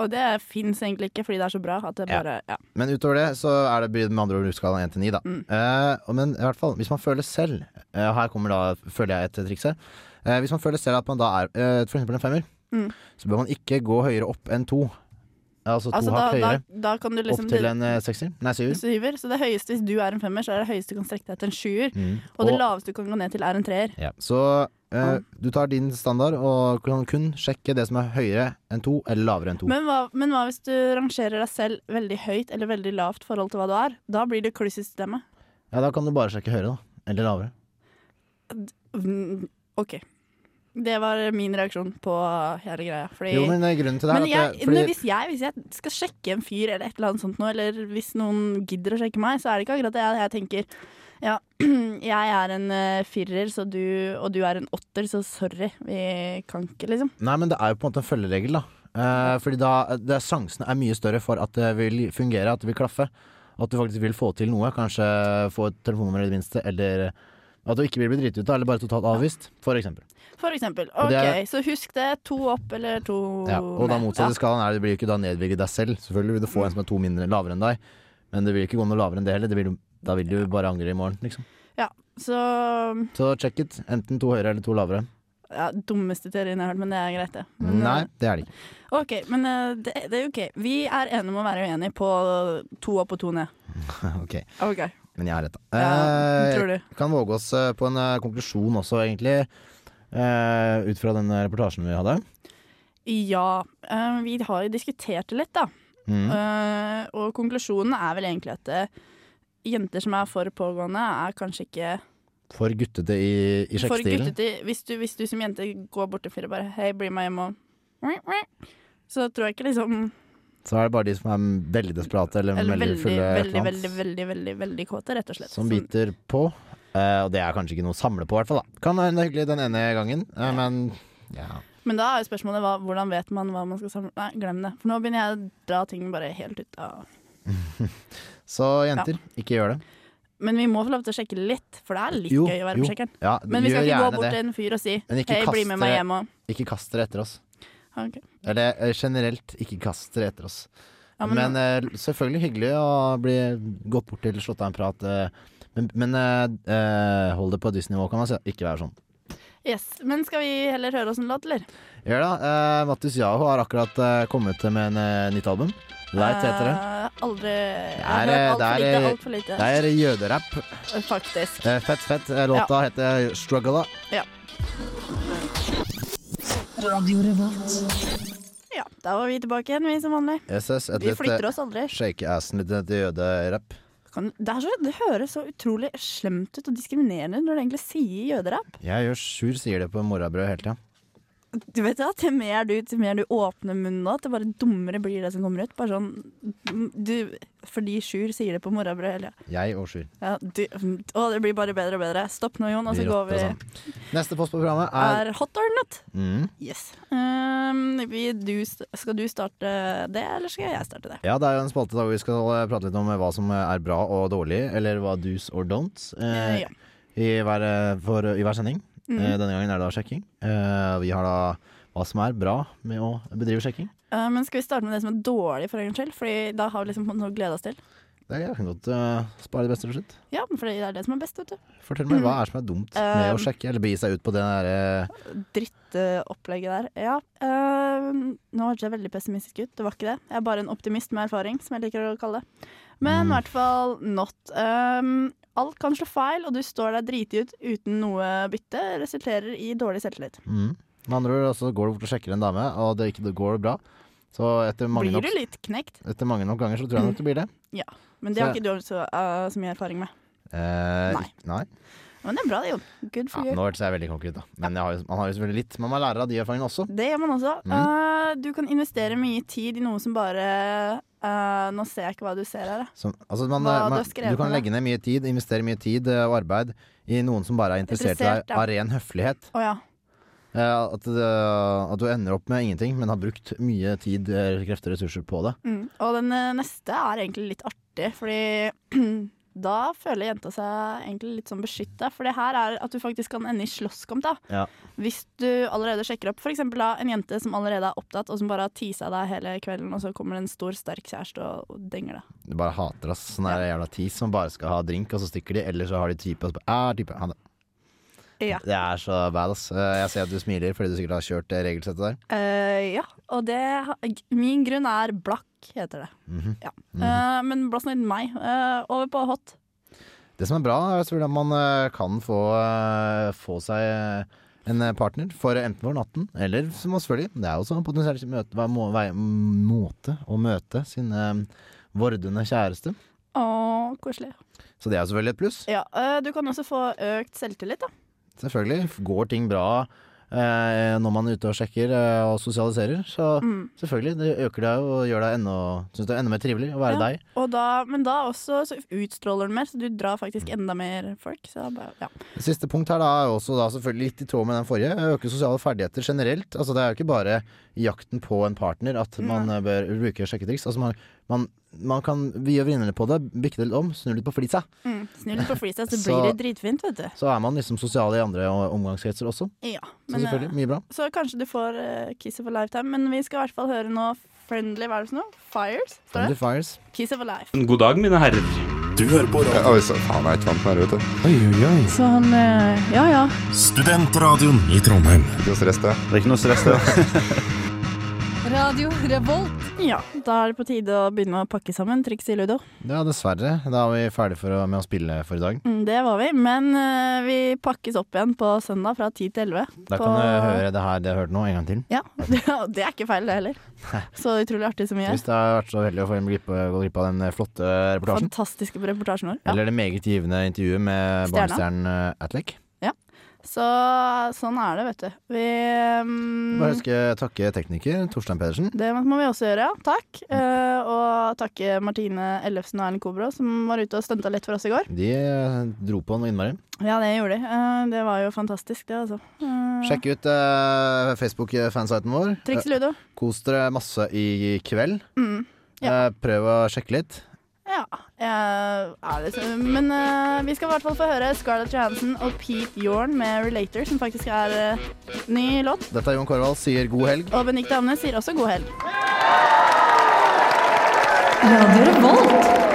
[SPEAKER 1] Og det fins egentlig ikke, fordi det er så bra at det
[SPEAKER 2] Ja.
[SPEAKER 1] bare Ja.
[SPEAKER 2] Men utover det så er det med andre ord bruksskalaen 1 til 9, da.
[SPEAKER 1] Mm.
[SPEAKER 2] Eh, og men i hvert fall, hvis man føler selv eh, og Her kommer da, føler jeg, et triks her. Eh, hvis man føler selv at man da er eh, for eksempel en femmer,
[SPEAKER 1] Mm.
[SPEAKER 2] så bør man ikke gå høyere opp enn to. Altså to
[SPEAKER 1] Altså, da,
[SPEAKER 2] hakk
[SPEAKER 1] da,
[SPEAKER 2] høyere.
[SPEAKER 1] da kan du liksom
[SPEAKER 2] opp til en eh, sekser. Nei,
[SPEAKER 1] en
[SPEAKER 2] syver.
[SPEAKER 1] syver. Så det høyeste, hvis du er en femmer, så er det høyeste du kan strekke deg til en sjuer.
[SPEAKER 2] Mm.
[SPEAKER 1] Og det
[SPEAKER 2] Og-
[SPEAKER 1] laveste du kan gå ned til, er en treer.
[SPEAKER 2] Ja. Så eh, du tar din standard og kan kun sjekke det som er høyere enn to, eller lavere enn to.
[SPEAKER 1] Men hva, men hva hvis du rangerer deg selv veldig høyt eller veldig lavt i forhold til hva du er? Da blir det kluss i systemet.
[SPEAKER 2] Ja, da kan du bare sjekke høyere, da. Eller lavere.
[SPEAKER 1] Mm, OK. Det var min reaksjon på hele greia. Fordi
[SPEAKER 2] Jo, men eh, grunnen til det
[SPEAKER 1] Men
[SPEAKER 2] er at
[SPEAKER 1] jeg,
[SPEAKER 2] det- fordi-
[SPEAKER 1] men hvis, jeg, hvis jeg skal sjekke en fyr eller et eller annet sånt nå, eller hvis noen gidder å sjekke meg, så er det ikke akkurat det jeg, jeg tenker. Ja, jeg er en eh, firer, så du, og du er en åtter, så sorry, vi kan ikke, liksom.
[SPEAKER 2] Nei, men det er jo på en måte en følgeregel, da. Eh, fordi da det, er- Sjansene er mye større for at det vil fungere, at det vil klaffe. At du faktisk vil få til noe. Kanskje få et telefonnummer i det minste, eller at du ikke vil bli driti ut av, eller bare totalt avvist, for eksempel.
[SPEAKER 1] For eksempel.
[SPEAKER 2] Og
[SPEAKER 1] OK,
[SPEAKER 2] det er-
[SPEAKER 1] så husk det. To opp eller to
[SPEAKER 2] Ja,
[SPEAKER 1] Oh,
[SPEAKER 2] og da motsatte skalaen er det blir jo ikke da nedvirke deg selv. Selvfølgelig vil du få en som er to mindre lavere enn deg, men det vil ikke gå noe lavere enn det heller. Det vil, jo- da vil du bare angre i morgen, liksom.
[SPEAKER 1] Ja, så
[SPEAKER 2] Så check it. Enten to høyere eller to lavere.
[SPEAKER 1] ja, Dummeste teorien jeg har hørt, men det er greit, det. Men,
[SPEAKER 2] Nei, det er det ikke.
[SPEAKER 1] eh, OK, men eh, det, det er OK. Vi er enige om å være uenige på to opp og to ned.
[SPEAKER 2] Ok.
[SPEAKER 1] OK.
[SPEAKER 2] Men jeg har rett, da.
[SPEAKER 1] Ja,
[SPEAKER 2] Eh,
[SPEAKER 1] tror du.
[SPEAKER 2] Kan våge oss eh, på en eh, konklusjon også, egentlig. eh, ut fra den reportasjen vi hadde.
[SPEAKER 1] Ja, eh, vi har jo diskutert det litt, da.
[SPEAKER 2] Mhm.
[SPEAKER 1] Eh, og konklusjonen er vel egentlig at eh, jenter som er for pågående, er kanskje ikke
[SPEAKER 2] For guttete i, i
[SPEAKER 1] for
[SPEAKER 2] sjekkestilen.
[SPEAKER 1] guttete. Hvis, du- hvis du som jente går bort til en fyr og bare 'hei, bli med hjem' og Så tror jeg ikke liksom
[SPEAKER 2] Så er det bare de som er veldig desperate eller,
[SPEAKER 1] Eller veldig,
[SPEAKER 2] veldig fulle. et
[SPEAKER 1] veldig,
[SPEAKER 2] eller annet,
[SPEAKER 1] veldig, veldig, veldig, veldig kåte, rett og slett.
[SPEAKER 2] Som biter på. Eh, og det er kanskje ikke noe å samle på, i hvert fall. da. Kan hende hyggelig den ene gangen, eh, men ja.
[SPEAKER 1] Men da er jo spørsmålet hva, hvordan vet man hva man skal samle Nei, glem det. For nå begynner jeg å dra ting bare helt ut av
[SPEAKER 2] Så jenter, ikke gjør det.
[SPEAKER 1] Men vi må få lov til å sjekke litt, for det er litt
[SPEAKER 2] Jo,
[SPEAKER 1] gøy å være
[SPEAKER 2] jo.
[SPEAKER 1] på sjekkeren.
[SPEAKER 2] Ja,
[SPEAKER 1] Men vi skal ikke
[SPEAKER 2] gjør
[SPEAKER 1] gå
[SPEAKER 2] gjerne
[SPEAKER 1] bort
[SPEAKER 2] det.
[SPEAKER 1] til en fyr og si
[SPEAKER 2] Men
[SPEAKER 1] 'hei,
[SPEAKER 2] ikke
[SPEAKER 1] bli med
[SPEAKER 2] kaste-
[SPEAKER 1] meg hjem' og
[SPEAKER 2] Ikke kast dere etter oss.
[SPEAKER 1] Ok.
[SPEAKER 2] Eller eh, generelt, ikke kast dere etter oss.
[SPEAKER 1] Ja, men-
[SPEAKER 2] men eh, selvfølgelig hyggelig å bli gått bort til, slått av en prat. eh, men men eh, eh, hold det på et visst nivå, kan man si. Ikke være sånn.
[SPEAKER 1] Yes, Men skal vi heller høre oss en låt, eller?
[SPEAKER 2] Gjør det. Uh, Mattis Jaho har akkurat eh, kommet med en eh, nytt album. Light heter det.
[SPEAKER 1] Eh, aldri Jeg
[SPEAKER 2] Det
[SPEAKER 1] har
[SPEAKER 2] er, eh,
[SPEAKER 1] hørt altfor lite,
[SPEAKER 2] det er, eh,
[SPEAKER 1] altfor lite.
[SPEAKER 2] det er jøderapp.
[SPEAKER 1] Faktisk.
[SPEAKER 2] Eh, fett, fett. Eh, Låta
[SPEAKER 1] Ja.
[SPEAKER 2] heter 'Struggle'.
[SPEAKER 1] Ja.
[SPEAKER 5] Radio Revolt.
[SPEAKER 1] ja. Da var vi tilbake igjen, vi som vanlig.
[SPEAKER 2] SS, et
[SPEAKER 1] Vi
[SPEAKER 2] litt,
[SPEAKER 1] flytter
[SPEAKER 2] eh,
[SPEAKER 1] oss aldri.
[SPEAKER 2] Shake assen litt eh, til jøderapp.
[SPEAKER 1] Kan, det, er så, det høres så utrolig slemt ut og diskriminerende når du egentlig sier jøderapp.
[SPEAKER 2] Jeg gjør sur sier det på morrabrød hele tida.
[SPEAKER 1] Du vet at Til mer du, til mer du åpner munnen nå, til bare dummere blir det som kommer ut. Bare sånn du, Fordi Sjur sier det på morgenbrød hele tida.
[SPEAKER 2] Jeg og sur.
[SPEAKER 1] Ja, du- mm, å, det blir bare bedre og bedre. Stopp nå, Jon, og så
[SPEAKER 2] Vi
[SPEAKER 1] går vi.
[SPEAKER 2] rotter Neste post på programmet er,
[SPEAKER 1] Er hot or not?
[SPEAKER 2] mm,
[SPEAKER 1] Yes. Um, vi, du, skal du starte det, eller skal jeg starte det?
[SPEAKER 2] Ja, det er jo en spalte da hvor vi skal eh, prate litt om eh, hva som eh, er bra og dårlig, eller hva do's or don'ts eh,
[SPEAKER 1] Eh, ja.
[SPEAKER 2] i, hver, eh, for, i hver sending.
[SPEAKER 1] Mhm.
[SPEAKER 2] Eh, denne gangen er det da sjekking. Eh, vi har da hva som er bra med å bedrive sjekking.
[SPEAKER 1] Eh, men skal vi starte med det som er dårlig, for en gangs skyld? Fordi da har vi liksom noe å glede oss til.
[SPEAKER 2] Det er kan godt eh, spare det beste til slutt.
[SPEAKER 1] Ja, fordi det er det som er best, vet du.
[SPEAKER 2] Fortell meg, hva er det som er dumt med
[SPEAKER 1] Eh,
[SPEAKER 2] å sjekke, eller begi seg ut på det eh, derre
[SPEAKER 1] Drittopplegget der. Ja. eh, nå hørtes jeg veldig pessimistisk ut, det var ikke det. Jeg er bare en optimist med erfaring, som jeg liker å kalle det. Men
[SPEAKER 2] Mm.
[SPEAKER 1] i hvert fall not. Um, alt kan slå feil, og du står der driti ut uten noe bytte. Resulterer i dårlig selvtillit.
[SPEAKER 2] Mm. Med andre ord, altså, går du bort og sjekker en dame, og det ikke det går bra, så etter mange,
[SPEAKER 1] Blir
[SPEAKER 2] nok,
[SPEAKER 1] du litt knekt?
[SPEAKER 2] etter mange nok ganger så tror jeg nok det blir det.
[SPEAKER 1] Ja. Men det har
[SPEAKER 2] Så-
[SPEAKER 1] ikke du så, eh, så mye erfaring med.
[SPEAKER 2] Eh,
[SPEAKER 1] Nei.
[SPEAKER 2] ikk- nei.
[SPEAKER 1] Men det er bra, det, Jon. Good
[SPEAKER 2] Ja,
[SPEAKER 1] for you.
[SPEAKER 2] nå hørtes jeg veldig konkret, da. Men jeg har, jo- man har jo selvfølgelig litt. Men man lærer av de erfaringene også.
[SPEAKER 1] Det gjør man også.
[SPEAKER 2] Mm.
[SPEAKER 1] Eh, du kan investere mye tid i noe som bare eh, Nå ser jeg ikke hva du ser her, da.
[SPEAKER 2] Som, altså man,
[SPEAKER 1] Hva
[SPEAKER 2] man,
[SPEAKER 1] du har skrevet
[SPEAKER 2] du kan
[SPEAKER 1] ned,
[SPEAKER 2] legge ned mye tid, investere mye tid eh, og arbeid i noen som bare er interessert i
[SPEAKER 1] Interessert,
[SPEAKER 2] deg
[SPEAKER 1] ja.
[SPEAKER 2] av ren høflighet.
[SPEAKER 1] Å ja.
[SPEAKER 2] Eh, at, det- at du ender opp med ingenting, men har brukt mye tid, eh, krefter og ressurser på det.
[SPEAKER 1] Mm. Og den eh, neste er egentlig litt artig, fordi da føler jenta seg egentlig litt sånn beskytta. For det her er at du faktisk kan ende i slåsskamp, da.
[SPEAKER 2] Ja.
[SPEAKER 1] Hvis du allerede sjekker opp f.eks. en jente som allerede er opptatt, og som bare har tisa deg hele kvelden, og så kommer det en stor, sterk kjæreste og, og denger deg.
[SPEAKER 2] Du bare hater oss. Sånn er det jævla tis som bare skal ha drink, og så stikker de. Eller så har de type, og så bare, er type. Ha det.
[SPEAKER 1] Ja.
[SPEAKER 2] Det er så bad, ass. Eh, Jeg ser at du smiler fordi du sikkert har kjørt det regelsettet der.
[SPEAKER 1] Eh, ja, og det ha- Min grunn er blakk, heter det.
[SPEAKER 2] Mhm.
[SPEAKER 1] Ja. Eh, men blås nå inn meg. Eh, over på hot.
[SPEAKER 2] Det som er bra, er selvfølgelig at man eh, kan få, eh, få seg eh, en partner for enten for natten, eller som selvfølgelig, det er jo også en potensiell møte, hva- må, vei, måte å møte sin eh, vordende kjæreste.
[SPEAKER 1] Å, koselig.
[SPEAKER 2] Så det er jo selvfølgelig et pluss.
[SPEAKER 1] Ja, eh, du kan også få økt selvtillit, da.
[SPEAKER 2] Selvfølgelig går ting bra eh, når man er ute og sjekker eh, og sosialiserer. Så
[SPEAKER 1] Mm.
[SPEAKER 2] selvfølgelig, det øker deg jo og gjør deg enda, synes det er enda mer trivelig å være
[SPEAKER 1] Ja,
[SPEAKER 2] deg.
[SPEAKER 1] Og da, men da også så utstråler den mer, så du drar faktisk enda mer folk. Så da bare, ja.
[SPEAKER 2] Siste punkt her da, er også da selvfølgelig litt i tråd med den forrige. Øke sosiale ferdigheter generelt. Altså, det er jo ikke bare i jakten på en partner at man eh, bør bruke sjekketriks. Altså, man, man, man kan vi gjør vrindene på det, bikke det litt om, snu litt på flisa.
[SPEAKER 1] Mm, Snu litt på freestyle, så
[SPEAKER 2] Så-
[SPEAKER 1] blir det dritfint, vet du.
[SPEAKER 2] Så er man liksom sosial i andre o- omgangskretser også.
[SPEAKER 1] Ja,
[SPEAKER 2] Så selvfølgelig,
[SPEAKER 1] eh,
[SPEAKER 2] mye bra.
[SPEAKER 1] Så kanskje du får eh, Kiss of a Lifetime, men vi skal i hvert fall høre nå Friendly, hva er det for noe? Fires? står det? Kiss of a Life.
[SPEAKER 7] God dag, mine herrer. Du hører på radio. Ja, oi, så- faen, jeg er ikke vant med det, vet du. Oi, oi, oi.
[SPEAKER 1] Så han eh, Ja ja.
[SPEAKER 7] Studentradioen i Trondheim. Ikke noe stress, det.
[SPEAKER 3] Det er ikke noe stress, det.
[SPEAKER 1] Radio Revolt. Ja, da er det på tide å begynne å pakke sammen triks i Ludo.
[SPEAKER 2] Ja, dessverre. Da er vi ferdig for å, med å spille for i dag.
[SPEAKER 1] Mm, Det var vi, men eh, vi pakkes opp igjen på søndag fra 10 til 11. på-
[SPEAKER 2] Da kan du høre det her de har hørt nå, en gang til.
[SPEAKER 1] Ja, det, det er ikke feil det heller. Så utrolig artig som vi gjør.
[SPEAKER 2] Hvis det har vært så heldig å få en glipp, gå glipp av den flotte reportasjen.
[SPEAKER 1] Fantastiske reportasjen vår. Ja.
[SPEAKER 2] Eller det meget givende intervjuet med
[SPEAKER 1] Stjerna.
[SPEAKER 2] barnestjernen eh, Atlac.
[SPEAKER 1] Ja. Så sånn er det, vet du. Vi mm,
[SPEAKER 2] Bare ønske å takke tekniker Torstein Pedersen.
[SPEAKER 1] Det må vi også gjøre, ja. Takk.
[SPEAKER 2] Mm.
[SPEAKER 1] Eh, og takke Martine Ellefsen og Erlend Kobro, som var ute og stunta litt for oss i går.
[SPEAKER 2] De eh, dro på noe innmari.
[SPEAKER 1] Ja, det gjorde de. Eh, det var jo fantastisk, det, altså. Eh,
[SPEAKER 2] Sjekk ut eh, Facebook-fansiten vår.
[SPEAKER 1] Triks Ludo.
[SPEAKER 2] Eh, Kos dere masse i kveld.
[SPEAKER 1] Mm.
[SPEAKER 2] Eh, prøv å sjekke litt.
[SPEAKER 1] Ja, eh, er det så. Men eh, vi skal i hvert fall få høre Scarlett Johansen og Pete Jorn med 'Relator', som faktisk er eh, ny låt.
[SPEAKER 2] Dette er Jon Korvald, sier god helg.
[SPEAKER 1] Og Benikte Amne sier også god helg.
[SPEAKER 5] Radio Revolt.